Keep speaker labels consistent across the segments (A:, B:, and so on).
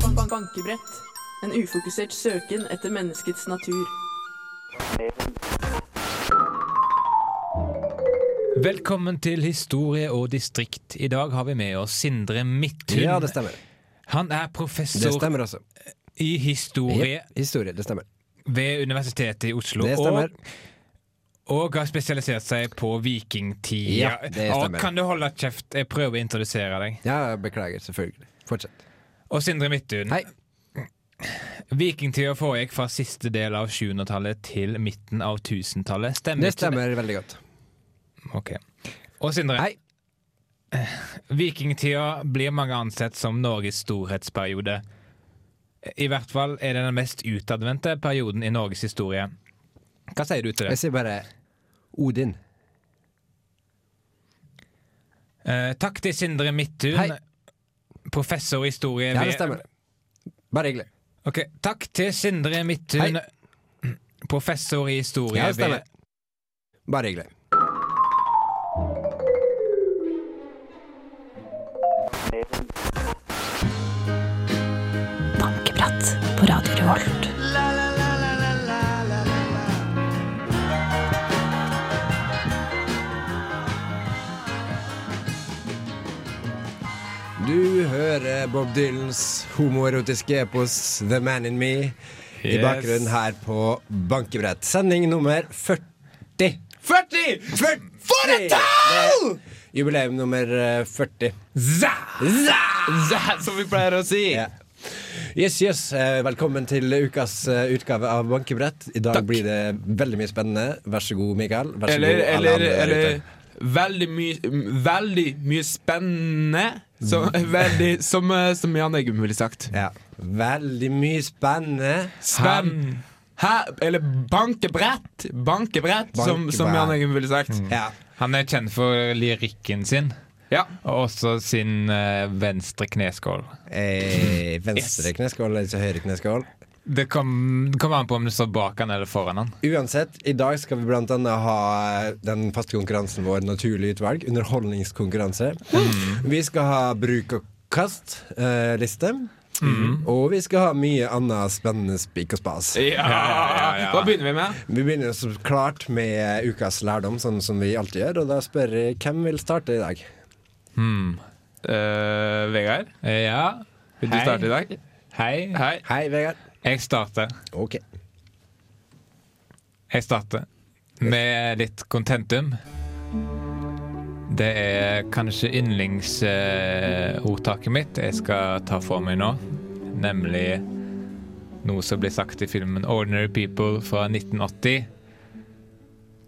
A: Tankebrett. En ufokusert søken etter menneskets natur.
B: Velkommen til Historie og distrikt. I dag har vi med oss Sindre Midthun.
C: Ja, det stemmer.
B: Han er
C: Det
B: professor
C: stemmer altså.
B: i historie
C: Jep, Historie, det stemmer.
B: ved Universitetet i Oslo.
C: Det stemmer.
B: Og, og har spesialisert seg på vikingtida.
C: Ja, det
B: og
C: stemmer.
B: kan du holde kjeft? Jeg prøver å introdusere deg.
C: Ja, jeg beklager, selvfølgelig. Fortsett.
B: Og Sindre Midthun.
C: Hei.
B: Vikingtida foregikk fra siste del av 700-tallet til midten av 1000-tallet. Stemmer
C: Det
B: ikke
C: stemmer veldig godt.
B: Ok. Og Sindre.
C: Hei.
B: Vikingtida blir mange ansett som Norges storhetsperiode. I hvert fall er det den mest utadvendte perioden i Norges historie. Hva sier du til det?
C: Jeg sier bare Odin.
B: Eh, takk til Sindre Midthun,
C: Hei.
B: professor i historie
C: Ja, det
B: ved-
C: stemmer. Bare hyggelig.
B: Ok, Takk til Sindre Midthun, professor i historie
C: Ja, det
B: ved
C: stemmer. Bare hyggelig.
D: Bankeprat på Radio Revolt.
C: Du hører Bob Dylans homoerotiske epos The Man In Me i
B: Yes.
C: bakgrunnen her på Bankebrett. Sending nummer 40. 40! For et tall! Jubileum nummer eh, 40.
B: Za!
E: Som vi pleier å si.
C: Ja. Yes, yes. eh, Velkommen til ukas eh, utgave av Bankebrett. I dag
E: Takk.
C: blir det veldig mye spennende. Vær så god, Mikael. Vær så
E: Eller,
C: god, alle
E: eller,
C: andre der
E: eller
C: ute.
E: veldig, mye- m- veldig mye spennende. Som, veldig, som, eh, som Jan Eggum ville sagt.
C: Mm. Ja. Veldig mye spennende.
E: Spenn. Hæ? Eller bankebrett. Bankebrett, Som, som
C: Bankebrett. Mm.
E: Jan Eggum ville sagt.
C: Ja.
B: Han er kjent for lyrikken sin,
E: Ja.
B: og også sin eh, venstre kneskål.
C: Eh, venstre kneskål eller ikke høyre kneskål.
B: Det kom- kommer an på om du står bak han eller foran han.
C: Uansett, i dag skal vi blant annet ha eh, den faste konkurransen vår Naturlig utvalg, underholdningskonkurranse.
E: Mm.
C: Vi skal ha bruk og kast-liste.
E: Mm.
C: Og vi skal ha mye annet spennende spik og spas.
B: ja, ja.
E: Hva begynner vi med?
C: Vi begynner så klart med ukas lærdom, sånn som vi alltid gjør. Og da spør jeg hvem vil starte i dag?
E: Eh, Vegard,
B: Eh, Ja.
E: vil du
B: Hei.
E: starte i dag?
B: Hei.
E: Hei.
C: Hei, Vegard.
B: Jeg starter.
C: Ok.
B: Jeg starter med litt contentum. Det er kanskje yndlingsordtaket mitt jeg skal ta for meg nå. Nemlig noe som ble sagt i filmen Ordinary People fra 1980.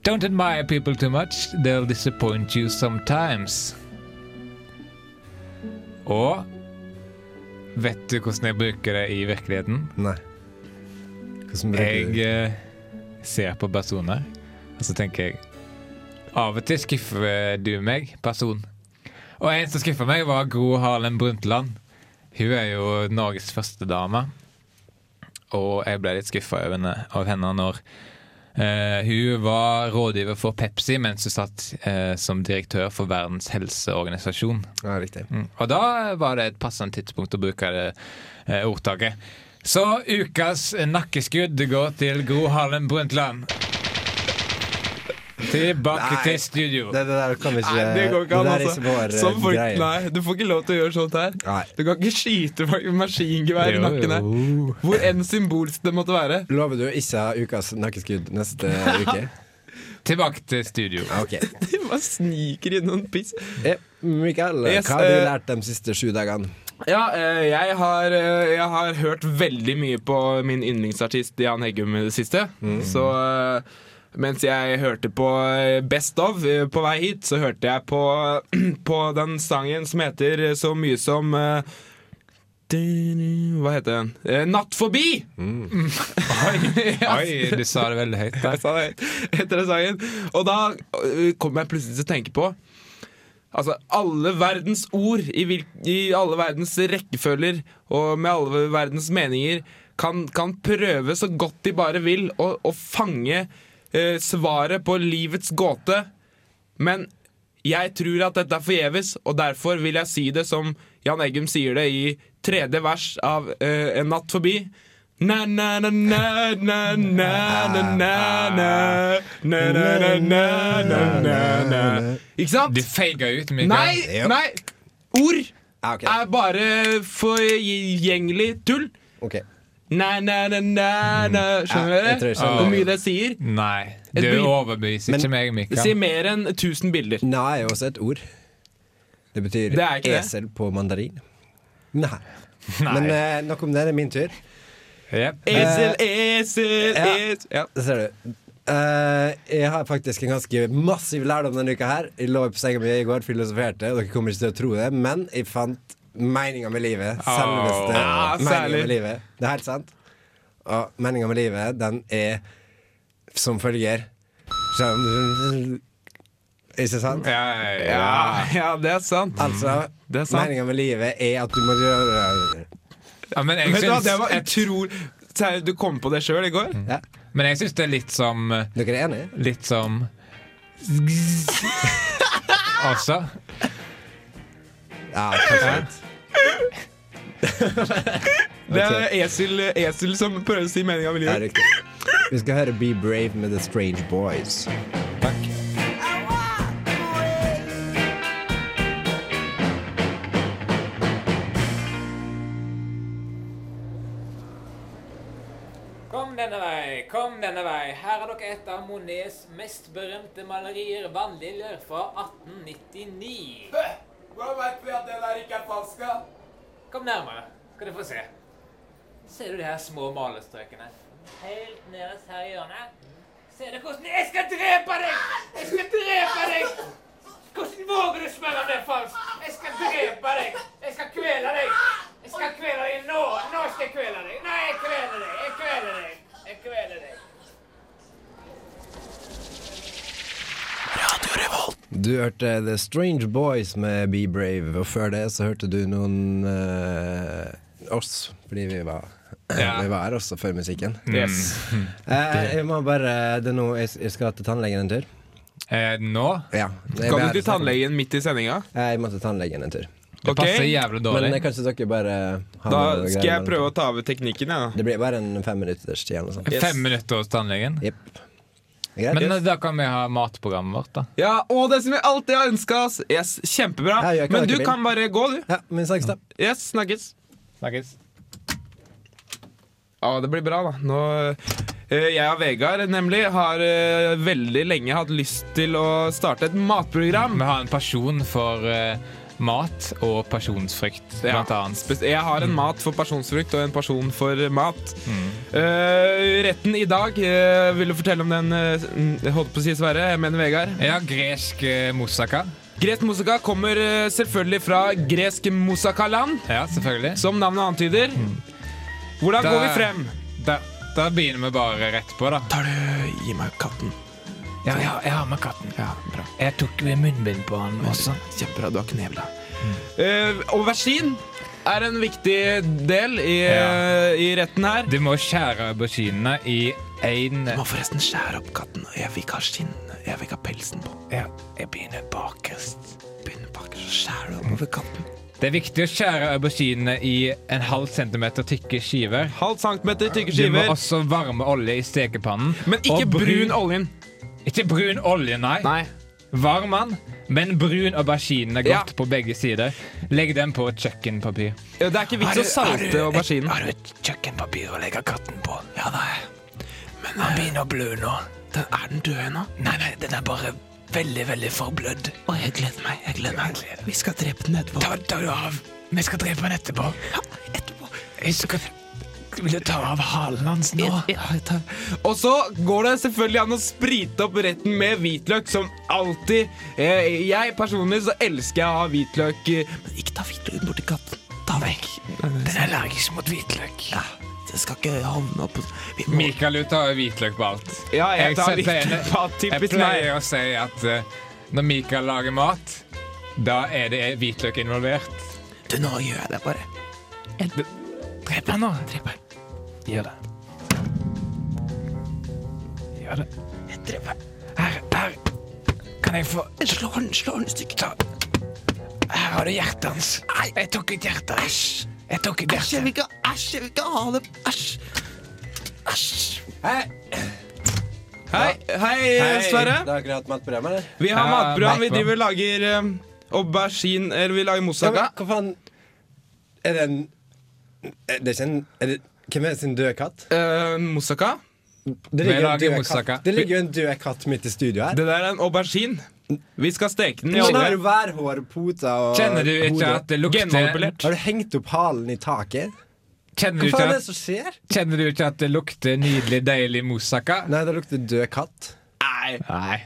B: Don't admire people too much. They'll disappoint you sometimes. Og vet du hvordan jeg bruker det i virkeligheten?
C: Nei. Hvordan bruker
B: Jeg
C: du
B: eh, ser på personer, og så tenker jeg Av og til skuffer du meg, person. Og en som skuffa meg, var Gro Harlem Brundtland. Hun er jo Norges førstedame. Og jeg ble litt skuffa av henne, av henne når eh, hun var rådgiver for Pepsi mens hun satt eh, som direktør for Verdens helseorganisasjon.
C: Ja, riktig.
B: Mm. Og da var det et passende tidspunkt å bruke det eh, ordtaket. Så ukas nakkeskudd går til Gro Harlem Brundtland. Tilbake
C: Nei.
B: til studio.
C: Det, det der kan vi ikke
E: Nei, det går ikke an,
C: der er ikke vår
E: altså.
C: eh,
E: Sånn folk,
C: greie.
E: nei, du får ikke lov til å gjøre sånt her.
C: Nei.
E: Du kan ikke skyte folk med maskingevær i
B: Jo,
E: nakken her.
B: jo.
E: Hvor enn symbolsk det måtte være.
C: Lover du å ikke ha ukas nakkeskudd neste uke?
B: Tilbake til studio.
C: Ok.
E: De bare sniker inn noen piss.
C: Eh, Mikael,
E: Yes,
C: hva har du
E: eh,
C: lært de siste sju dagene?
E: Ja, eh, jeg har, eh, jeg har hørt veldig mye på min yndlingsartist Jan Heggum i det siste. Så eh, mens jeg hørte på eh, Best of eh, på vei hit, så hørte jeg på, på den sangen som heter eh, så mye som eh, hva heter den? Eh, Natt forbi!
B: Oi, du sa det veldig høyt.
E: Jeg sa det etter den sangen. Og da ø, kom jeg plutselig til å tenke på Altså, alle verdens ord i, hvil, i alle verdens rekkefølger og med alle verdens meninger kan, kan prøve så godt de bare vil øh, å, å fange ø, svaret på livets gåte, men Jeg tror at dette er forgjeves, og derfor vil jeg si det som Jan Eggum sier det i tredje vers av eh, En natt forbi. Na, na, na, na, na, na, na, na, na, na, na, na, na, na, na, na. Ikke sant?
B: Du feiga ut, Mikael.
E: Nei,
C: Ja.
E: nei! Ord
C: Ja, Ah, ok.
E: er bare forgjengelig tull.
C: Ok.
E: Na, na, na, na, na. Skjønner
C: Ja, jeg tror
E: dere
C: jeg skjønner.
E: hvor mye det sier?
B: Nei. Du
E: Et by-
B: overbeviser ikke meg,
E: Det sier
B: Mikael.
E: mer enn 1000 bilder.
C: Na er jo også et ord. Det betyr
E: Det er ikke det.
C: esel på mandarin. Nei.
B: Nei.
C: Men eh, nok om det. Det er min tur.
B: Jep.
E: Esel, esel,
C: Eh, ja.
E: esel ja.
C: Det ser du. Eh, jeg har faktisk en ganske massiv lærdom denne uka her. Jeg lå på senga mi i går filosoferte, og dere kommer ikke til å tro det, men jeg fant meninga med livet. Selveste
E: Ah,
C: meninga
E: særlig.
C: med livet. Det er helt sant. Og meninga med livet, den er som følger Sånn- Ikke sant?
B: Ja, ja.
E: Ja, ja, det er sant.
C: Altså,
E: Mm, Det er sant.
C: meninga med livet er at du må gjøre
B: ja, men jeg
E: Vet du hva,
B: syns
E: det var
B: jeg-
E: utrolig Seriøst, Du kom på det sjøl i går?
C: ja.
B: Men jeg syns det er litt som eh,
C: Dere er enige?
B: Litt som Også.
C: Ja, kanskje litt.
E: Det er esel,
B: eh,
E: esel som prøver å si meninga med
C: Ja,
E: livet.
C: riktig. Vi skal høre Be Brave med The Strange Boys.
B: Takk.
F: Kom denne vei, kom denne vei. Her er dere et av Monets mest berømte malerier, 'Vannliljer', fra 1899.
E: Hvordan veit vi at det der ikke er falsk?
F: Kom nærmere, skal du få se. Ser du de her små malestrøkene? Helt nederst her i hjørnet. Ser du hvordan Jeg skal drepe deg! Jeg skal drepe deg! Hvordan våger du spørre om det er falskt? Jeg skal drepe deg! Jeg skal kvele deg! Jeg skal kvele deg nå! Nå skal jeg kvele deg! Nei, jeg kveler deg! Jeg kveler deg! Jeg kveler deg!
C: Du hørte The Strange Boys med Be Brave, og før det så hørte du noen eh, oss, fordi vi var
B: Ja.
C: Vi var her også før musikken.
E: Yes.
C: Eh, jeg må bare det er nå, jeg, jeg skal til tannlegen en tur.
B: Eh, nå?
C: Ja. Jeg
E: Kan
C: ble-
E: du til tannlegen midt i sendinga?
C: Eh, Jeg må til tannlegen en tur.
B: Det
E: Ok.
B: passer jævlig dårlig.
C: Men eh, kanskje dere bare har
E: Da
C: noe
E: skal
C: greier
E: jeg
C: mellom-
E: prøve å ta over teknikken, jeg, da.
C: Det blir bare en femminutters tid eller noe sånt.
E: Yes.
B: Fem minutter hos tannlegen.
C: Jepp. Greit.
B: Men eh, da kan vi ha matprogrammet vårt, da.
E: Ja, og det som vi alltid har ønska oss. Yes, kjempebra.
C: Ja, jeg kan
E: Men du
C: ikke bil.
E: kan bare gå, du.
C: ja, men snakkes da.
E: Yes, snakkes.
B: Snakkes.
E: Ja, Ah, det blir bra, da. Nå, eh, jeg og Vegard nemlig har eh, veldig lenge hatt lyst til å starte et matprogram.
B: Vi har en pasjon for eh, mat og pasjonsfrykt,
E: Ja.
B: blant annet.
E: Spes- Jeg har en mat for pasjonsfrukt og en pasjon for mat. Eh, retten i dag, eh, vil du fortelle om den? eh, jeg holdt på å si Sverre, jeg mener Vegard.
B: Ja, gresk eh, moussaka.
E: Gresk moussaka kommer eh, selvfølgelig fra gresk moussakaland,
B: Ja, selvfølgelig.
E: som navnet antyder. Hvordan
B: Da-
E: går vi frem?
B: Da, da begynner vi bare rett på, da.
E: Tar du Gi meg katten.
B: Ja, ja, jeg har med katten.
E: Ja, bra.
B: Jeg tok munnbind på han også.
E: Kjempebra. Du har knebla. Mm. aubergine er en viktig del i,
B: Ja.
E: eh, i retten her.
B: Du må skjære auberginene i én
E: må forresten skjære opp katten. Jeg vil ikke ha skinnet. Jeg vil ikke ha pelsen på.
B: ja.
E: Jeg begynner bakerst. Begynner bakerst og skjærer oppover katten.
B: Det er viktig å skjære auberginene i en halv centimeter tykke skiver.
E: Halv centimeter tykke
B: Du må
E: skiver.
B: også varme olje i stekepannen.
E: Men ikke
B: og
E: brun oljen.
B: Ikke brun olje, nei.
E: Nei.
B: Varm den, men brun aubergine er godt
E: Ja.
B: på begge sider. Legg den på et kjøkkenpapir.
E: Det er ikke vits å salte auberginen.
G: Har du et kjøkkenpapir å legge katten på? Ja, nei. Men han begynner å blø nå. Den, er den død ennå? Nei, nei, den er bare veldig, veldig forblødd. Å, jeg gleder meg. jeg gleder meg. Vi skal drepe den etterpå. Ta, tar du av. Vi skal drepe den etterpå. Ja, etterpå. Jeg skal... Vil du ta av halen hans nå?
E: Og så går det selvfølgelig an å sprite opp retten med hvitløk, som alltid. Eh, Jeg personlig så elsker jeg å ha hvitløk eh, Men ikke ta hvitløken borti katten. Ta vekk.
G: Den er allergisk mot hvitløk. Ja, det skal ikke havne opp... Vi må...
B: Mikael, du tar jo hvitløk på alt.
E: Ja, jeg tar
B: Jeg pleier-
E: hvitløk. på alt,
B: Jeg
E: Typisk meg.
B: pleier å si at eh, når Mikael lager mat, da er det hvitløk involvert.
G: Du, nå gjør jeg det bare. Drep han nå. Drep han. Gjør det. Gjør det. Jeg dreper han. Her, der. Kan jeg få slå han, slå han et stykke? Ta. Her har du hjertet hans. Jeg tok ut hjertet. Æsj. Jeg tok ut hjertet.
H: vil ikke, æsj, jeg vil ikke ha det. Æsj.
E: Hei, hei, Sverre.
C: Det Eh, har ikke hatt mat på dem, eller?
E: Vi har
B: Ja,
E: matprogram. Vi
B: matprogram.
E: driver og lager eh, aubergine Eller vi lager
C: Ja, men,
E: moussaka.
C: hva faen Er det en er Det er ikke en er det, Hvem er sin døde katt?
E: Eh, moussaka.
C: Det
B: Vi
C: ligger, en
B: lager
C: død
B: moussaka.
C: katt. det ligger jo en død katt midt i studio her.
E: Det der er en aubergine. Vi skal steke den i
C: Nå har
E: olje.
C: du værhår, poter og
B: Kjenner du ikke
C: hodet.
B: at det lukter
E: Genmanipulert.
C: Har du hengt opp halen i taket?
B: Kjenner
C: Hva
B: du ikke
C: faen er det
B: at,
C: som skjer?
B: kjenner du ikke at det lukter nydelig, deilig moussaka?
C: Nei, det lukter død katt.
E: Nei,
B: Nei.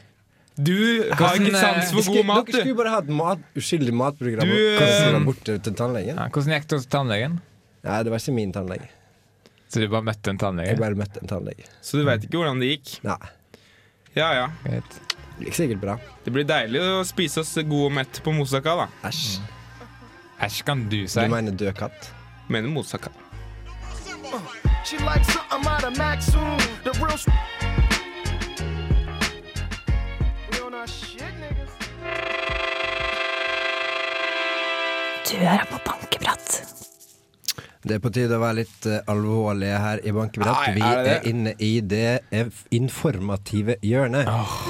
E: du har
B: Hvordan,
E: ikke sans
B: eh,
E: for god mat,
C: Dere
E: du.
C: skulle bare ha et mat, uskyldig matprogram.
E: Du,
C: og Kanskje
E: eh,
C: du var borte til tannlegen?
B: Ja, hvordan gikk det hos tannlegen?
C: Nei, det var ikke min tannlege.
B: Så du bare møtte en
C: Jeg
B: tannlege?
C: bare møtte en tannlege.
E: Så du veit ikke hvordan det gikk.
C: Nei,
E: Ja, ja.
B: Greit.
C: det gikk sikkert bra.
E: Det blir deilig å spise oss god og mett på moussaka, da.
C: Æsj.
B: Mm. Æsj, kan du si.
C: Du mener død katt?
E: Mener moussaka.
H: She likes something out of Maxoon. The real s- We on our shit, niggas.
D: Du hører på Bankeprat.
C: Det er på tide å være litt eh, alvorlige her i Bankebrett.
E: Nei,
C: Vi
E: er
C: er,
E: det det?
C: inne i det eh, informative hjørnet.
E: Ah.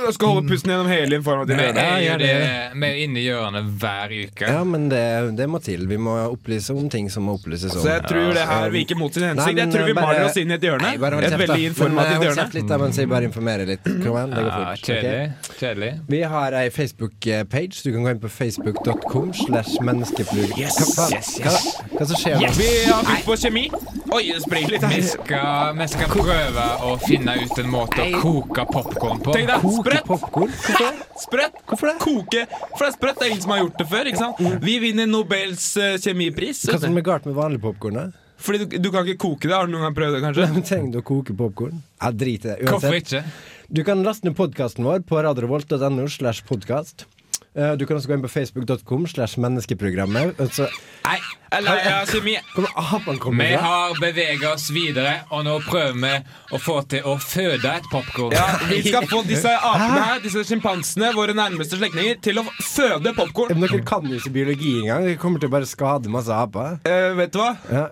E: Jeg skal holde pusten gjennom hele informativet.
B: Men jeg
C: ja,
B: gjør det
C: det-
B: med inne i hjørnet hver uke.
C: Ja, men det, det må til. Vi må opplyse om ting som må opplyses om. Eh,
E: Så jeg tror det her virker mot sin hensikt. Jeg tror vi maler oss inn i et hjørne. Et veldig informativt hjørne.
C: Hold kjeft litt, da, mens jeg bare informerer litt. Kom igjen, det går
B: Ja,
C: fort. ok?
B: kjedelig. Kjedelig.
C: Vi har ei Facebook-page. Du kan gå inn på facebook.com slash menneskeplugg.
G: Yes,
C: hva, faen?
G: yes, yes.
C: Hva, hva som skjer nå?
E: Vi har fylt på kjemi. Oi, det springer litt
B: Vi
E: her.
B: skal, vi skal prøve å finne ut en måte å koke popkorn på.
E: Tenk deg,
C: Koke
E: sprøtt!
C: popkorn? Hvorfor?
E: Sprøtt!
C: Hvorfor det? Mm.
E: Koke. For det er sprøtt. Det er ingen som har gjort det før. ikke sant? Vi vinner Nobels eh, kjemipris.
C: Hva som er galt med vanlig popkorn?
E: Fordi du, du kan ikke koke det. Har du noen gang prøvd det, kanskje?
C: Trenger du å koke popkorn? Ja, drit i det.
B: Hvorfor ikke?
C: Du kan laste ned podkasten vår på radiorevolt.no slash podkast. Eh, Du kan også gå inn på facebook.com slash menneskeprogrammet. Altså,
E: Nei, jeg er lei av kjemi.
C: hvor apen kommer
B: Vi
C: fra?
B: har bevega oss videre, og nå prøver vi å få til å føde et popkorn.
E: Ja, vi skal få disse apene her, disse sjimpansene, våre nærmeste slektninger, til å føde popkorn.
C: Men Dere kan jo ikke biologi engang. Dere kommer til å bare skade masse aper.
E: Eh, vet du hva?
C: Ja.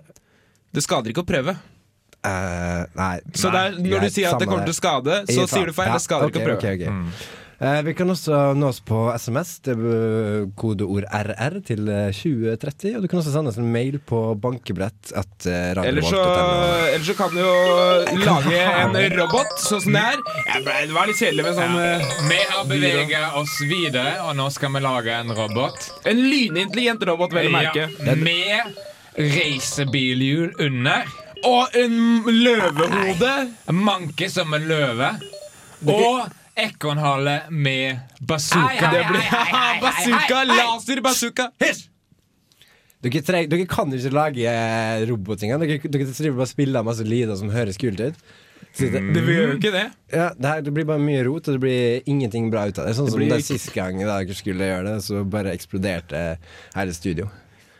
E: Det skader ikke å prøve.
C: Eh, nei.
E: Så det
C: nei,
E: er, når
C: greit,
E: du sier at det
C: samme
E: kommer til å skade,
C: Jeg gir
E: så
C: faen.
E: sier du feil.
C: Ja,
E: Det skader ikke Mm. å
C: ok,
E: prøve.
C: ok, ok. Eh, vi kan også nå oss på SMS, det er kodeord RR til eh, 2030. Og du kan også sende oss en mail på bankebrett at eh,
E: Eller så,
C: radiorevolt.no.
E: eller så kan du jo lage en robot, sånn som det er. Jeg ble, det var litt kjedelig med sånn eh,
B: Vi har bevega oss videre, og nå skal vi lage en robot.
E: En lynintelligent robot, vel å merke.
B: Ja, med racerbilhjul under.
E: Og en løvehode.
B: Manke som en løve. Og ekornhale med bazooka.
E: Det blir bazooka, laser bazooka.
C: Dere, treng, dere kan ikke lage eh, robotinger. Dere, dere driver bare og spiller masse lyder som høres kult ut. Så det,
E: Mm. Det gjør jo ikke det.
C: ja, det, her, det blir bare mye rot, og det blir ingenting bra ut av det. Sånn som
E: blir
C: det
E: ikke-
C: sist gang da dere skulle gjøre det, så bare eksploderte eh, hele studio.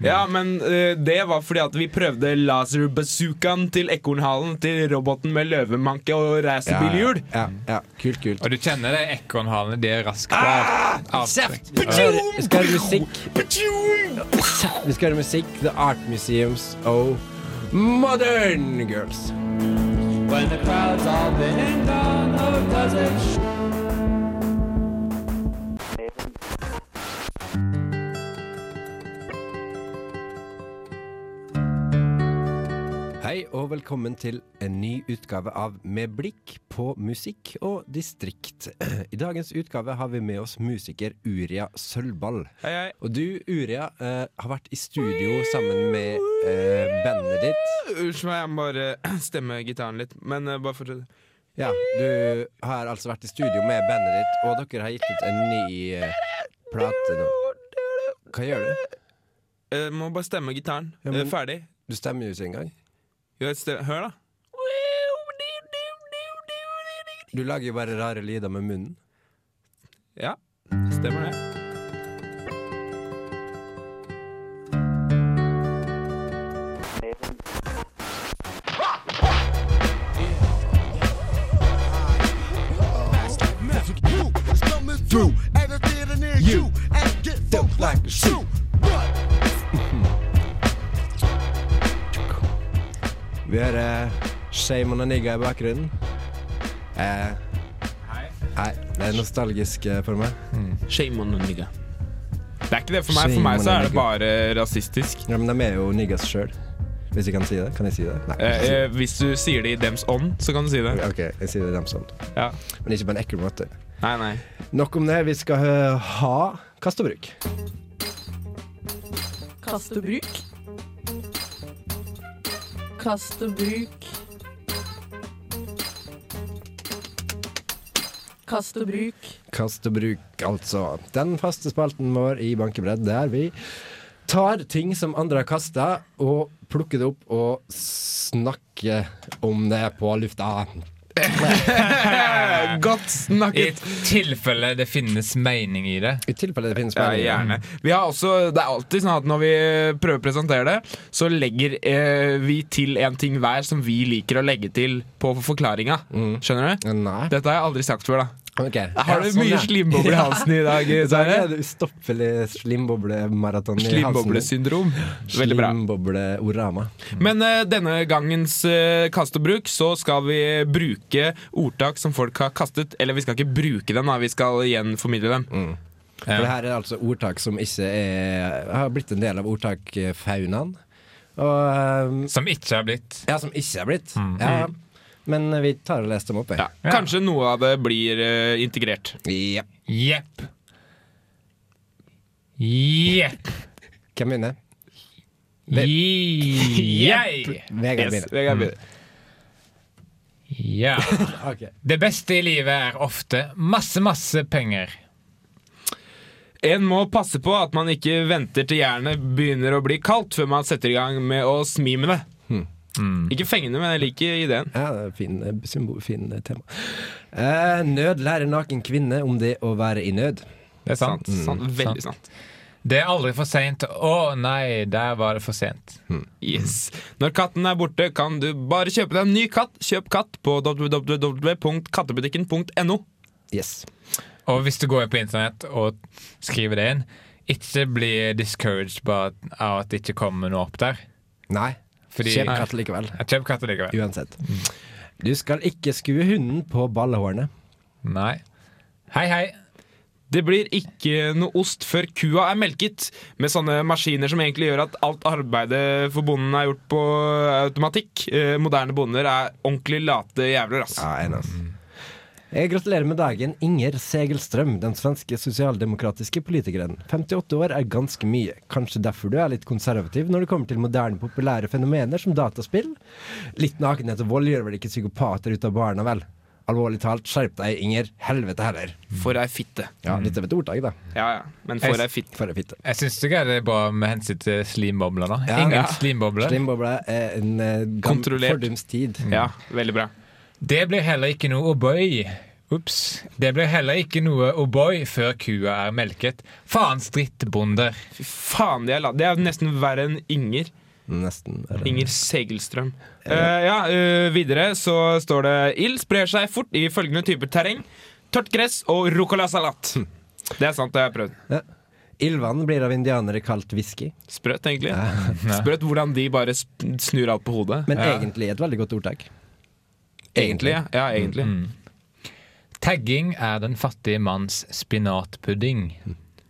E: Ja, men eh, det var fordi at vi prøvde laser bazookaen til ekornhalen til roboten med løvemanke
C: Ja,
E: og
C: ja,
E: racerbilhjul.
C: ja, ja. Kult, kult.
B: Og du kjenner det ekornhalene, de er raskt på av- avtrekk.
C: Vi skal høre musikk. Vi skal høre musikk. The Art Museums og Modern Girls. Hei og velkommen til en ny utgave av Med blikk på musikk og distrikt. I dagens utgave har vi med oss musiker Uria Sølvball.
E: Hei, hei.
C: Og du, Uria, eh, har vært i studio sammen med eh, bandet ditt.
E: Unnskyld meg, jeg må bare stemme gitaren litt. Men eh, bare fortsett.
C: Ja, du har altså vært i studio med bandet ditt, og dere har gitt ut en ny eh, plate nå. Hva gjør du?
E: Jeg eh, må bare stemme gitaren.
C: Ja, men-
E: Eh, Ferdig.
C: Du stemmer jo ikke engang.
E: Jo, jeg stem- Hør, da.
C: Du lager jo bare rare lyder med munnen.
E: Ja, stemmer det.
H: Du
C: Vi hører Shame on a nigga i bakgrunnen. Eh, Nei, det er nostalgisk eh, for meg.
G: Shame on nigga.
E: Det er ikke det for meg. For meg så er det bare rasistisk.
C: Ja, men de er jo niggas sjøl. Hvis jeg kan si det. Kan jeg si det? Nei.
E: Eh, eh, hvis du sier det i dems ånd, så kan du si det.
C: OK, jeg sier det dem sånn.
E: Ja.
C: Men ikke på en ekkel måte.
E: Nei, nei.
C: Nok om det. Vi skal eh, ha kast og bruk.
A: Kast og bruk. Kast og bruk. Kast og bruk.
C: Kast og bruk, altså. Den faste spalten vår i Bankebredd, der vi tar ting som andre har kasta, og plukker det opp og snakker om det på lufta.
E: Eh, Godt
B: I
E: snakket.
B: tilfelle det finnes mening i det.
C: I tilfelle det finnes
E: Ja,
C: meninger.
E: gjerne. Vi har også, det er alltid sånn at når vi prøver å presentere det, så legger eh, vi til en ting hver som vi liker å legge til på forklaringa. Skjønner du?
C: Nei.
E: Dette har jeg aldri sagt før, da.
C: Ok.
E: Har
C: Mm. Ja,
E: du
C: sånn,
E: mye
C: ja.
E: slimboble i halsen i dag,
C: I dag er
E: Sverre?
C: det ustoppelig slimboblemaraton i halsen.
E: Slimboblesyndrom. Veldig bra.
C: Slimbobleorama.
E: Men eh, denne gangens eh, kast og bruk, så skal vi bruke ordtak som folk har kastet. Eller vi skal ikke bruke dem, da. vi skal gjenformidle dem.
C: For det her er altså ordtak som ikke er Har blitt en del av ordtakfaunaen. Og um,
B: Som ikke har blitt.
C: Ja, som ikke er blitt. Ja, men eh, vi tar og leser dem opp, jeg.
E: Mm. Ja. Kanskje noe av det blir eh, integrert.
C: Ja.
B: Jepp. Jepp.
C: Hvem begynner?
B: Jeg.
C: Vegard
E: Yes,
C: begynner.
E: Vegard begynner.
B: Ja.
C: Ah, Ok.
B: Det beste i livet er ofte masse, masse penger.
E: En må passe på at man ikke venter til jernet begynner å bli kaldt før man setter i gang med å smi med det.
B: Mm.
E: Ikke fengende, men jeg liker ideen.
C: Ja, det er fin, eh, symbol, fin eh, tema. Eh, nød lærer naken kvinne om det å være i nød.
B: Det er sant.
E: Sant, veldig sant.
B: Det er aldri for seint. Å nei, der var det for sent.
E: Yes. Når katten er borte, kan du bare kjøpe deg en ny katt. Kjøp katt på www.kattebutikken.no.
C: Yes.
B: Og hvis du går inn på internett og skriver det inn, ikke bli discouraged bare av at det ikke kommer noe opp der.
C: Nei.
B: Fordi-
C: Kjent katt likevel.
B: Kjøp katter likevel.
C: Uansett.
E: Mm.
C: Du skal ikke skue hunden på ballehårene.
B: Nei. Hei, hei.
E: Det blir ikke noe ost før kua er melket, med sånne maskiner som egentlig gjør at alt arbeidet for bonden er gjort på automatikk. Eh, moderne bonder er ordentlig late jævler, ass.
C: Ja, enig, ass. Jeg gratulerer med dagen, Inger Segelstrøm, den svenske sosialdemokratiske politikeren. 58 år er ganske mye. Kanskje derfor du er litt konservativ når det kommer til moderne, populære fenomener som dataspill? Litt nakenhet og vold gjør vel ikke psykopater ut av barna, vel? Alvorlig talt, skjerp deg, Inger. Helvete heller.
E: For ei fitte.
C: Ja, litt av et ordtak, da.
E: Ja, ja. Men for
B: Jeg-
E: ei fitte.
C: For ei fitte.
B: Jeg syns det er bra med hensyn til slimbobler. da.
C: Ja.
B: Ingen
C: Ja.
B: slimbobler.
C: Slimbobla er en eh, gam-
E: Kontrollert.
C: fordums tid.
E: Ja, veldig bra.
B: Det blir heller ikke noe O'boy. Ops. Det blir heller ikke noe O'boy før kua er melket. Faens drittbonder.
E: Fy faen, det er, la- det er nesten verre enn Inger.
C: Nesten. eller-
E: Inger Segelstrøm. Eh, ja, eh, videre så står det Ild sprer seg fort i følgende typer terreng. Tørt gress og rucolasalat.
C: Hm.
E: Det er sant, det har jeg prøvd.
C: Ildvann blir av indianere kalt whisky,
E: Sprøtt, egentlig. Sprøtt hvordan de bare sp- snur alt på hodet.
C: men egentlig et veldig godt ordtak.
E: Egentlig, ja. ja egentlig.
B: Tagging er den fattige manns spinatpudding.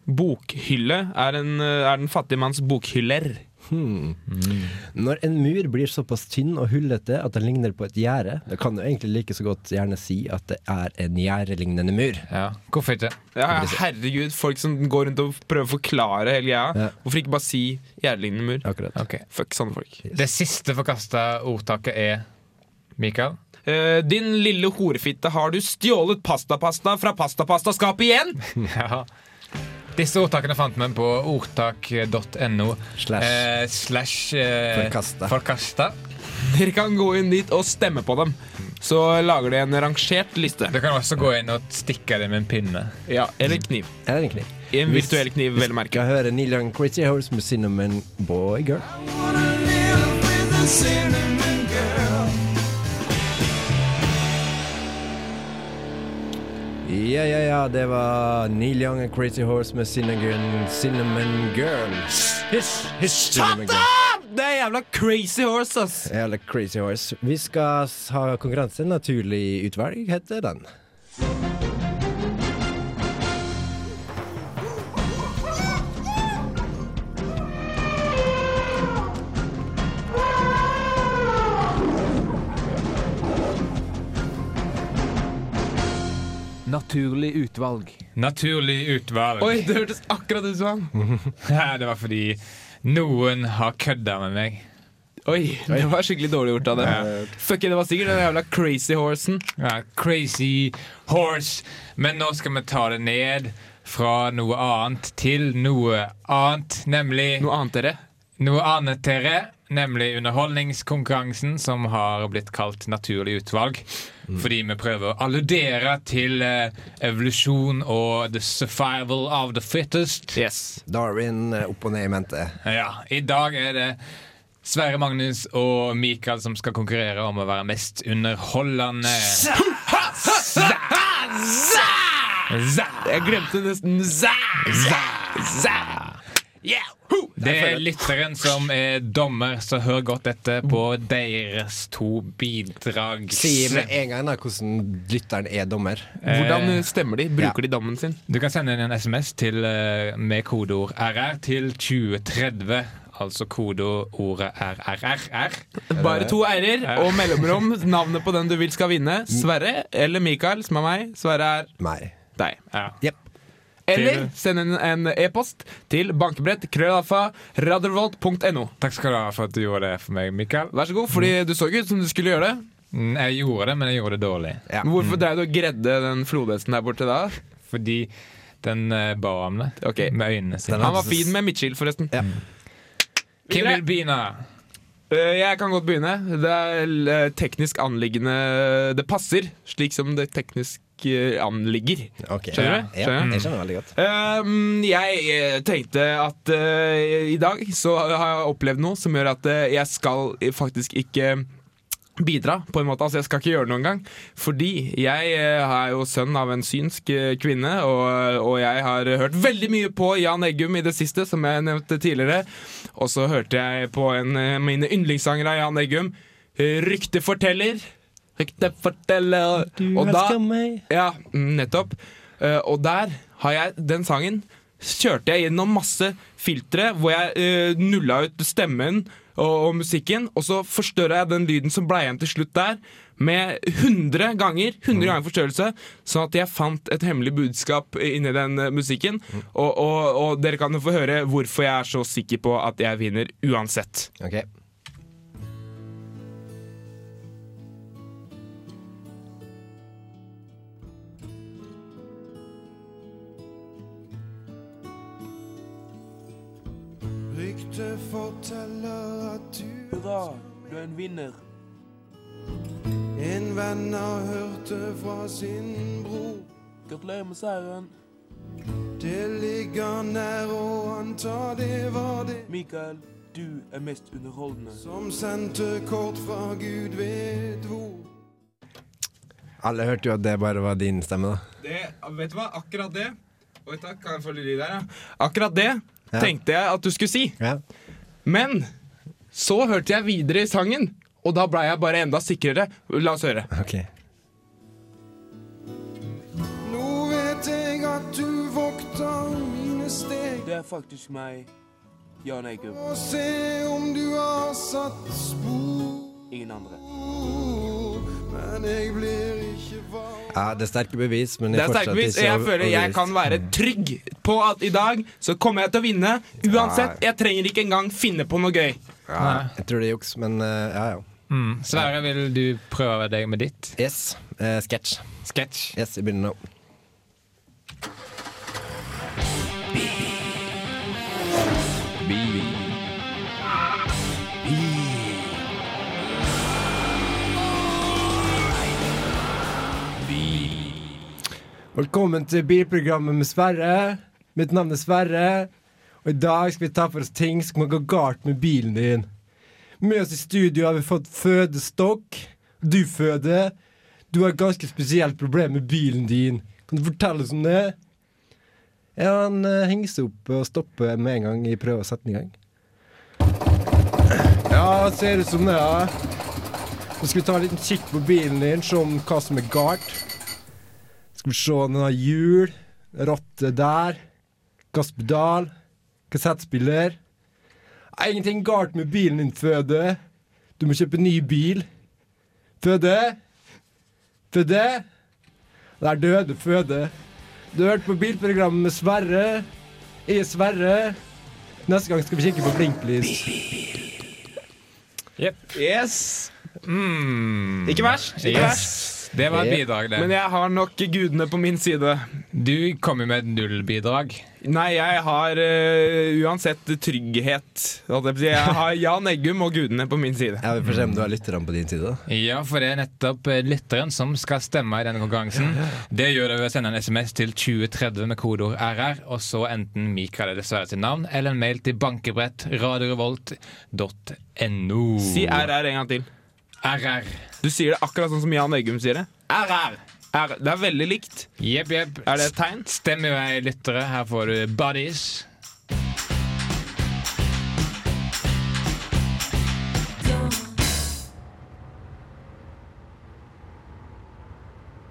E: Bokhylle er, en, eh, er den fattige manns bokhyller.
C: Når en mur blir såpass tynn og hullete at den ligner på et gjerde, da kan du egentlig like så godt gjerne si at det er en gjerdelignende mur.
B: Ja, hvorfor ikke?
E: Ja, ja, herregud, folk som går rundt og prøver å forklare hele greia.
C: Ja.
E: Hvorfor ikke bare si gjerdelignende mur?
C: Akkurat.
B: Ok.
E: Fuck sånne folk.
B: Det siste forkasta ordtaket er Mikael?
E: Eh, din lille horefitte, har du stjålet pastapasta fra pastapastaskapet igjen?
B: Ja. Disse ordtakene fant vi på ordtak.no.
C: Slash.
B: Eh, slash eh,
C: Forkasta.
B: forkasta.
E: Dere kan gå inn dit og stemme på dem. Så lager de en rangert liste.
B: Du kan også gå inn og stikke det med en pinne.
E: Ja, Eller kniv.
C: Er det en kniv?
E: En
C: Hvis-
E: virtuell kniv, vel å merke.
C: Skal høre Neil Young Crazy Horse med Cinnamon Boy Girl. Ja, ja, ja, det var Neil Young and Crazy Horse med Cinnamon, cinnamon Girl. Hysj, hysj, Cinnamon Girl.
E: det er jævla crazy horse, ass!
C: Jævla crazy horse. Vi skal s- ha konkurranse. Naturlig utvalg heter den.
I: Naturlig utvalg.
B: Naturlig utvalg.
E: Oi, det hørtes akkurat ut som han.
B: Nei, det var fordi noen har kødda med meg.
E: Oi, det var skikkelig dårlig gjort av det. Fuck, it, det var sikkert den jævla crazy horsen.
B: Ja, crazy horse. Men nå skal vi ta det ned fra noe annet til noe annet, nemlig
E: Noe annet, dere?
B: noe annet, dere. Nemlig underholdningskonkurransen, som har blitt kalt Naturlig utvalg. Fordi vi prøver å alludere til eh, evolusjon og the survival of the fittest.
E: Yes.
C: Darwin eh, opp og ned i mente.
B: Ja, I dag er det Sverre Magnus og Mikael som skal konkurrere om å være mest underholdende.
E: Jeg glemte nesten Zæ! Zæ! Zæ! Yeah! Ho!
B: Det er lytteren som er dommer, så hør godt etter på deres to bidrag.
C: Si med en gang da hvordan lytteren er dommer.
E: Hvordan stemmer de? Bruker
C: Ja.
E: de dammen sin?
B: Du kan sende inn en SMS til, eh, med kodeord RR til 2030. Altså kodeordet RRRR.
E: Bare to r-er og mellomrom. Navnet på den du vil skal vinne. Sverre eller Mikael, som er meg. Sverre er
C: Meg.
E: deg.
B: Ja.
E: Eller
B: Til-
E: send en- en e-post til bankebrett krøllalfa radiorevolt.no.
B: Takk skal du ha for at du gjorde det for meg, Mikael.
E: Vær så god,
C: Mm.
E: fordi du så ikke ut som du skulle gjøre det.
B: Mm, Jeg gjorde det, men jeg gjorde det dårlig.
C: Ja. Mm.
E: Men Hvorfor dreiv du og gredde den flodhesten der borte da?
B: Fordi den eh, ba om det
E: Ok.
B: med øynene sine.
C: Den
E: Han var fin med midtskill, forresten.
C: Ja.
B: Hvem vil begynne?
E: Eh, Jeg kan godt begynne. Det er eh, teknisk anliggende Det passer, slik som det teknisk eh, anligger.
C: Ok.
E: Skjønner du?
C: Ja,
E: Skjønner du?
C: jeg skjønner Mm. veldig godt.
E: Ehm, jeg eh, tenkte at eh, i dag så har jeg opplevd noe som gjør at eh, jeg skal faktisk ikke bidra, på en måte. Altså, jeg skal ikke gjøre det noen gang. Fordi jeg eh, er jo sønn av en synsk eh, kvinne, og, og jeg har hørt veldig mye på Jan Eggum i det siste, som jeg nevnte tidligere. Og så hørte jeg på en, eh, mine yndlingssanger av Jan Eggum, eh, 'Rykteforteller'. Rykteforteller. Og da
C: meg.
E: ja, mm, nettopp. Eh, og der har jeg den sangen. Kjørte jeg gjennom masse filtre hvor jeg eh, nulla ut stemmen og, og musikken, og så forstørra jeg den lyden som ble igjen til slutt der, med 100 ganger 100 ganger forstørrelse, sånn at jeg fant et hemmelig budskap inni den eh, musikken. Og, og, og dere kan jo få høre hvorfor jeg er så sikker på at jeg vinner uansett.
C: Ok. Alle hørte jo at det bare var din stemme, da.
E: Det, vet du hva, akkurat det Oi, takk, kan jeg få litt lyd der, ja? Akkurat det tenkte jeg at du skulle si.
C: Ja.
E: Men så hørte jeg videre i sangen, og da blei jeg bare enda sikrere. La oss høre.
C: Ok.
I: Det er faktisk meg, Jan Eggum. Og se om du har satt spor. Ingen andre.
C: Ja, det er sterke bevis, men
E: Det
C: jeg
E: er
C: fortsatt
E: sterke bevis.
C: ikke
E: Jeg føler jeg
C: overbevist.
E: kan være trygg på at i dag så kommer jeg til å vinne. Uansett, jeg trenger ikke engang finne på noe gøy.
C: Ja, jeg tror det er juks, men eh, ja, ja.
B: Mm. Sverre, vil du prøve deg med ditt?
C: Yes. Eh, Sketsj.
B: Sketsj.
C: Yes, jeg begynner nå. Velkommen til bilprogrammet med Sverre. Mitt navn er Sverre. Og i dag skal vi ta for oss ting som kan gå galt med bilen din. Med oss i studio har vi fått fødestokk. Du føder. Du har et ganske spesielt problem med bilen din. Kan du fortelle oss om det? Ja, han eh, henger seg opp og stopper med en gang jeg prøver å sette den i gang. Ja, ser ut som det, ja. Nå skal vi ta en liten kikk på bilen din, se om hva som er galt. Skal vi se om den har hjul, rotte der, gasspedal, kassettspiller. Er Ingenting galt med bilen din, Føde. Du må kjøpe ny bil. Føde? Føde? Det er døde Føde. Du hørte på bilprogrammet med Sverre. Jeg er Sverre. Neste gang skal vi kikke på blinklys.
E: Yes!
B: Mm.
E: Ikke verst. Ikke verst.
B: Yes. Det var et bidrag,
E: Men
B: det.
E: jeg har nok gudene på min side.
B: Du kom jo med et nullbidrag.
E: Nei, jeg har eh, uansett trygghet. holdt Jeg på å si. Jeg har Jan Eggum og gudene på min side.
C: Ja, Vi får se om du har lytterne på din side. da.
B: Ja, for det er nettopp eh, lytteren som skal stemme i denne konkurransen. Det gjør du ved å sende en SMS til 2030 med kodeord RR, og så enten Mikael eller Sverre sitt navn, eller en mail til bankebrett radiorevolt.no.
E: Si RR en gang til.
B: RR.
E: Du sier det akkurat sånn som Jan Eggum sier det. RR. R. Det er veldig likt.
B: Jepp, jepp.
E: Er det et tegn?
B: Stem i vei, lyttere. Her får du Buddies.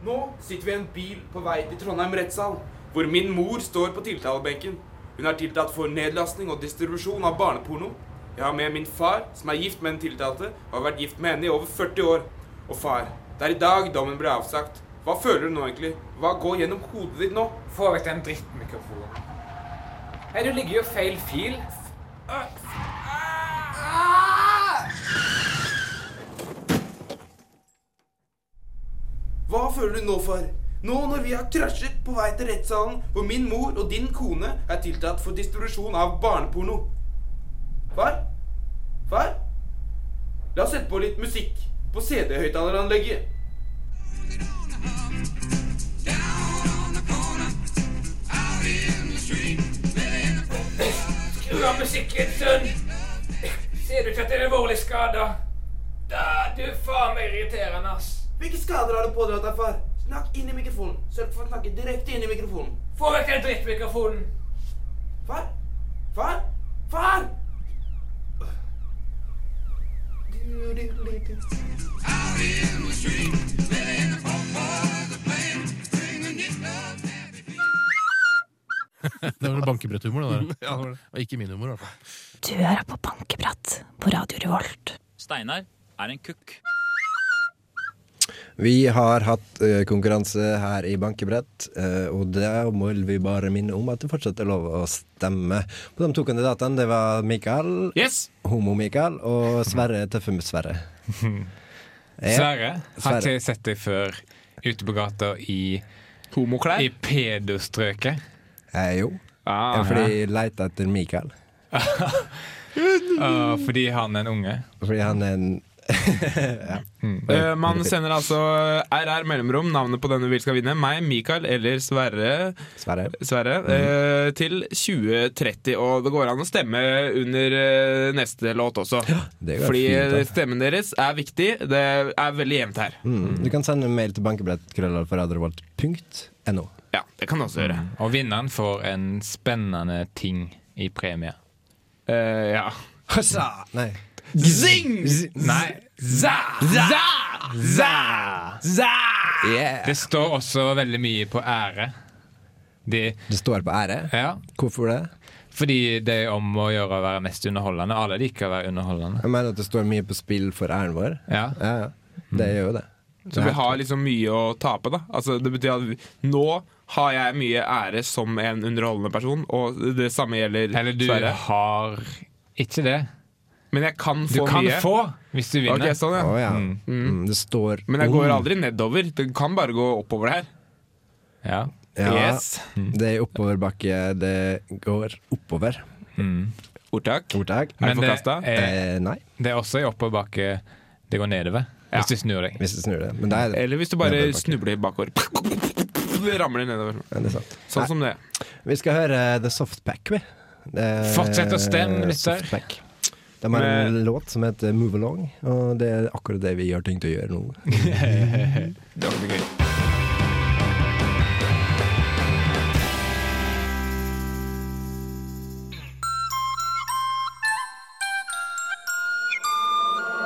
I: Nå sitter vi i en bil på vei til Trondheim rettssal, hvor min mor står på tiltalebenken. Hun er tiltalt for nedlastning og distribusjon av barneporno. Jeg har med min far, som er gift med den tiltalte, og har vært gift med henne i over 40 år. Og far, det er i dag dommen ble avsagt. Hva føler du nå egentlig? Hva går gjennom hodet ditt nå?
F: Få vekk den drittmikrofonen. Hei, du ligger jo feil fil.
I: Hva føler du nå, far? Nå når vi har krasjet på vei til rettssalen, hvor min mor og din kone er tiltalt for distribusjon av barneporno. Far? Far? La oss sette på litt musikk på CD-høyttaleranlegget.
F: Skru av musikken, sønn! Ser du ikke at det er alvorlig skada? Da, du er faen meg irriterende, ass.
I: Hvilke skader har du pådratt deg, far? Snakk inn i mikrofonen. Sørg for å snakke direkte inn i mikrofonen.
F: Få vekk den drittmikrofonen.
I: Far? Far? Far!
J: Det var bankebretthumor, det der. Og ikke min humor, i hvert fall.
D: Du hører på Bankeprat på Radio Revolt.
F: Steinar er en kukk.
C: Vi har hatt eh, konkurranse her i Bankebrett, eh, og da må vi bare minne om at det fortsatt er lov å stemme på de to kandidatene. Det var Mikael,
E: Yes!
C: Homo-Mikael, og Sverre Tøffe med Sverre. Ja,
B: Sverre. Har ikke
C: Sverre.
B: jeg sett deg før ute på gata i,
E: Homoklær.
B: i pedostrøket.
C: eh, jo.
E: Ah,
C: Ja, fordi jeg leter etter Mikael.
B: Ah, fordi han er en unge.
C: Fordi han er en
E: Eh, man sender altså RR mellomrom, navnet på denne vi skal vinne, meg, Mikael eller Sverre,
C: Sverre.
E: Sverre eh, til 2030. Og det går an å stemme under eh, neste låt også.
C: Det går
E: Fordi
C: fint,
E: eh,
C: da.
E: stemmen deres er viktig. Det er veldig jevnt her.
C: Mm. Du kan sende en mail til bankebrettkrøllalfaradrevolt.no.
E: Ja, det kan du også gjøre.
B: Og vinneren får en spennende ting i premie.
E: Eh, ja.
C: Hussa! Nei.
E: Zing!
B: Nei,
E: Za! Za! Za! Za!
C: Yeah.
B: det står også veldig mye på ære. De,
C: Det står på ære.
B: ja,
C: Hvorfor det?
B: fordi det er om å gjøre å være mest underholdende. Alle liker å være underholdende.
C: Jeg mener at det står mye på spill for æren vår.
B: Ja.
C: Ja, Mm. ja. Det gjør jo det.
E: Så vi har liksom mye å tape, da. Altså, det betyr at vi, nå har jeg mye ære som en underholdende person, og det samme gjelder
B: Eller du
E: Sverre.
B: har ikke det.
E: Men jeg kan
B: Du
E: få
B: kan
E: mye.
B: få hvis du
E: Ok,
B: vinner.
E: sånn,
C: Å
E: ja.
C: ja. Mm, det står
E: Men jeg går
C: Mm.
E: aldri nedover. Det kan bare gå oppover det her.
B: Ja.
C: Ja,
E: Yes.
C: Det er oppoverbakke. Det går oppover.
E: Ordtak.
C: Ordtak?
E: Er
B: Men
E: det
B: det
E: forkasta?
B: er,
C: Eh, nei,
B: det er også i oppoverbakke det går nedover.
E: Ja.
B: Hvis du snur deg.
C: hvis du snur det. Men det er,
E: Eller hvis du bare
C: Nedoverbakke.
E: snubler bakover. Det ramler nedover.
C: Ja, det er sant.
E: Sånn som det.
C: Vi skal høre eh, The Softpack, vi. Det er-
B: Fortsett å stemme, lytter.
C: Softpack. De har en låt som heter Move Along, og det er akkurat det vi har tenkt å gjøre nå.
E: Det var gøy.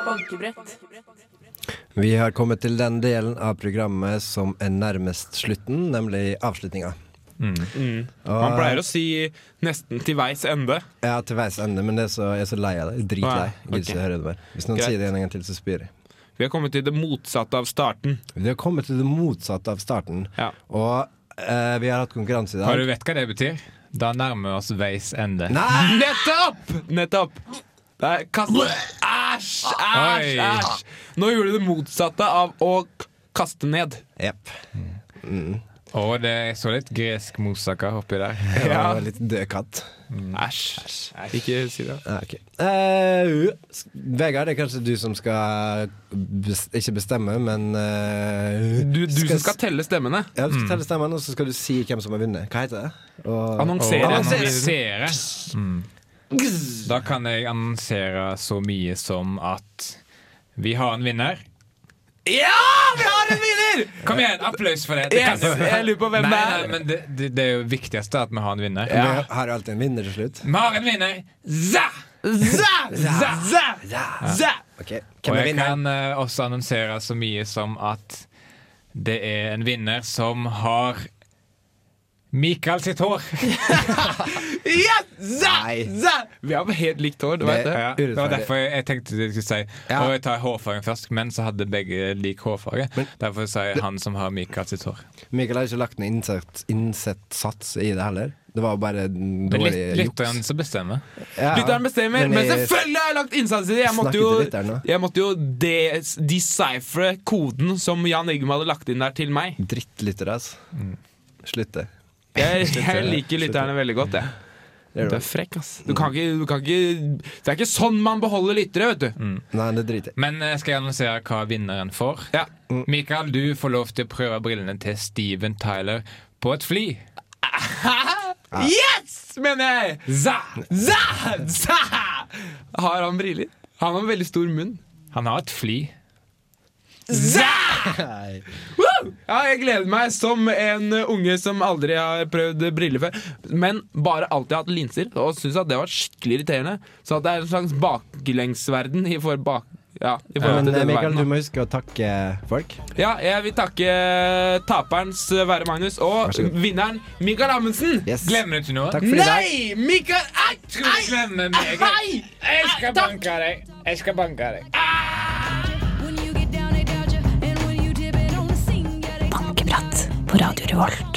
A: Bankebrett.
C: Vi har kommet til den delen av programmet som er nærmest slutten, nemlig avslutninga.
E: Mm. Man pleier å si 'nesten til veis ende'.
C: Ja, til veis ende, men det er så, jeg er så lei av det. Jeg er Dritlei. Jeg gidder
E: Ok.
C: ikke høre det mer. Hvis noen
E: Greit.
C: sier det en gang til, så spyr jeg.
E: Vi har kommet til det motsatte av starten.
C: Vi har kommet til det motsatte av starten,
E: Ja.
C: og eh, vi har hatt konkurranse i dag.
B: Og du vet hva det betyr? Da nærmer vi oss veis ende.
C: Nei!
E: Nettopp! Nettopp. Der, kast Æsj, æsj,
B: Oi.
E: æsj. Nå gjorde du det motsatte av å k- kaste ned.
C: Jepp.
B: Og det er så litt gresk moussaka oppi der.
C: Det var
E: Ja.
C: en litt død katt.
E: Æsj. Ikke si det.
C: Ja, Ah, ok. Eh, s- Vegard, det er kanskje du som skal bes ikke bestemme, men eh,
E: Du, du som
C: s-
E: skal Mm. telle stemmene.
C: Ja, du skal telle stemmene, og så skal du si hvem som har vunnet. Hva heter det? Og...
E: Annonsere.
B: Og annonsere. Mm. Da kan jeg annonsere så mye som at vi har en vinner.
E: Ja, vi har en vinner!
B: Kom igjen, applaus for det! det
E: Yes, jeg lurer på hvem
B: nei,
E: det
B: nei,
E: er.
B: men det, det, det er jo viktigste at vi har en vinner.
C: Vi har jo alltid en vinner til slutt.
B: Vi har en vinner! Za! Za! Za! Za! Za!
C: Ok,
B: Og
C: Hvem er
B: jeg
C: vinneren?
B: kan eh, også annonsere så mye som at det er en vinner som har Mikael sitt hår.
E: Yes! Za!
C: Nei.
E: Za! Vi har helt likt hår, du
C: Det-
E: vet det.
B: Ja, det var
C: Urettferdig.
B: derfor jeg, jeg tenkte du skulle si
C: Ja.
B: Og jeg tar hårfargen først, men så hadde begge lik hårfarge. Derfor sier jeg han som har Mikael sitt hår.
C: Mikael har ikke lagt noen innsett, innsett sats i det heller. Det var bare en
B: Det er litt-
C: dårlig
B: lytteren som bestemmer.
C: Ja.
E: Lytteren bestemmer, men,
C: Men jeg-
E: selvfølgelig har jeg lagt innsats i det! Jeg
C: Snakket
E: måtte jo,
C: til lytteren nå.
E: jeg måtte jo des deciphere koden som Jan Eggum hadde lagt inn der til meg.
C: Drittlyttere, altså.
E: Mm.
C: Slutt det.
E: Jeg, jeg
C: Slutter.
E: liker lytterne veldig godt, jeg.
C: Det
E: Du
C: gjør
E: er
C: du.
E: frekk, ass. Du kan ikke, du kan ikke Det er ikke sånn man beholder lyttere, vet du.
C: Nei, det driter jeg
B: Men eh, skal jeg annonsere hva vinneren får?
E: Ja.
B: Mikael, du får lov til å prøve brillene til Steven Tyler på et fly.
E: Yes, mener jeg!
B: Za!
E: Za! Za! Har han briller? Han har en veldig stor munn.
B: Han har et fly.
E: Za! Woo! Ja, jeg gleder meg som en unge som aldri har prøvd briller før, men bare alltid hatt linser, og syns at det var skikkelig irriterende. Så at det er en slags baklengsverden i for bak... Ja, i
C: ja, Men
E: forhold til
C: eh,
E: den
C: Mikael,
E: verden.
C: du må huske å takke folk.
E: Ja, jeg vil takke eh, taperens Være Magnus og
C: så god.
E: vinneren Mikael Amundsen.
C: Yes.
B: Glemmer du ikke noe?
C: Takk for i dag.
E: Nei! Mikael Ai!
B: Skal du glemme meg?
E: Ai!
B: Jeg skal banke deg. Jeg skal banke deg.
D: Bankebrett på Radio Revolt.